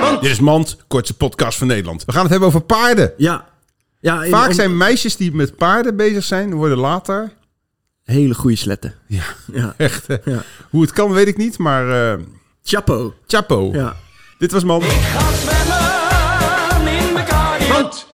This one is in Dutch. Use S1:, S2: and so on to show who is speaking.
S1: Mand.
S2: Dit is Mand, kortste podcast van Nederland. We gaan het hebben over paarden.
S1: Ja. ja en-
S2: Vaak
S1: om-
S2: zijn meisjes die met paarden bezig zijn, worden later.
S1: Hele goede sletten.
S2: Ja,
S1: Ja.
S2: echt. hè.
S1: Ja.
S2: Hoe het kan, weet ik niet, maar eh
S1: Chapo.
S2: chapo.
S1: Ja.
S2: Dit was Mand.
S3: Ga zwemmen in elkaar.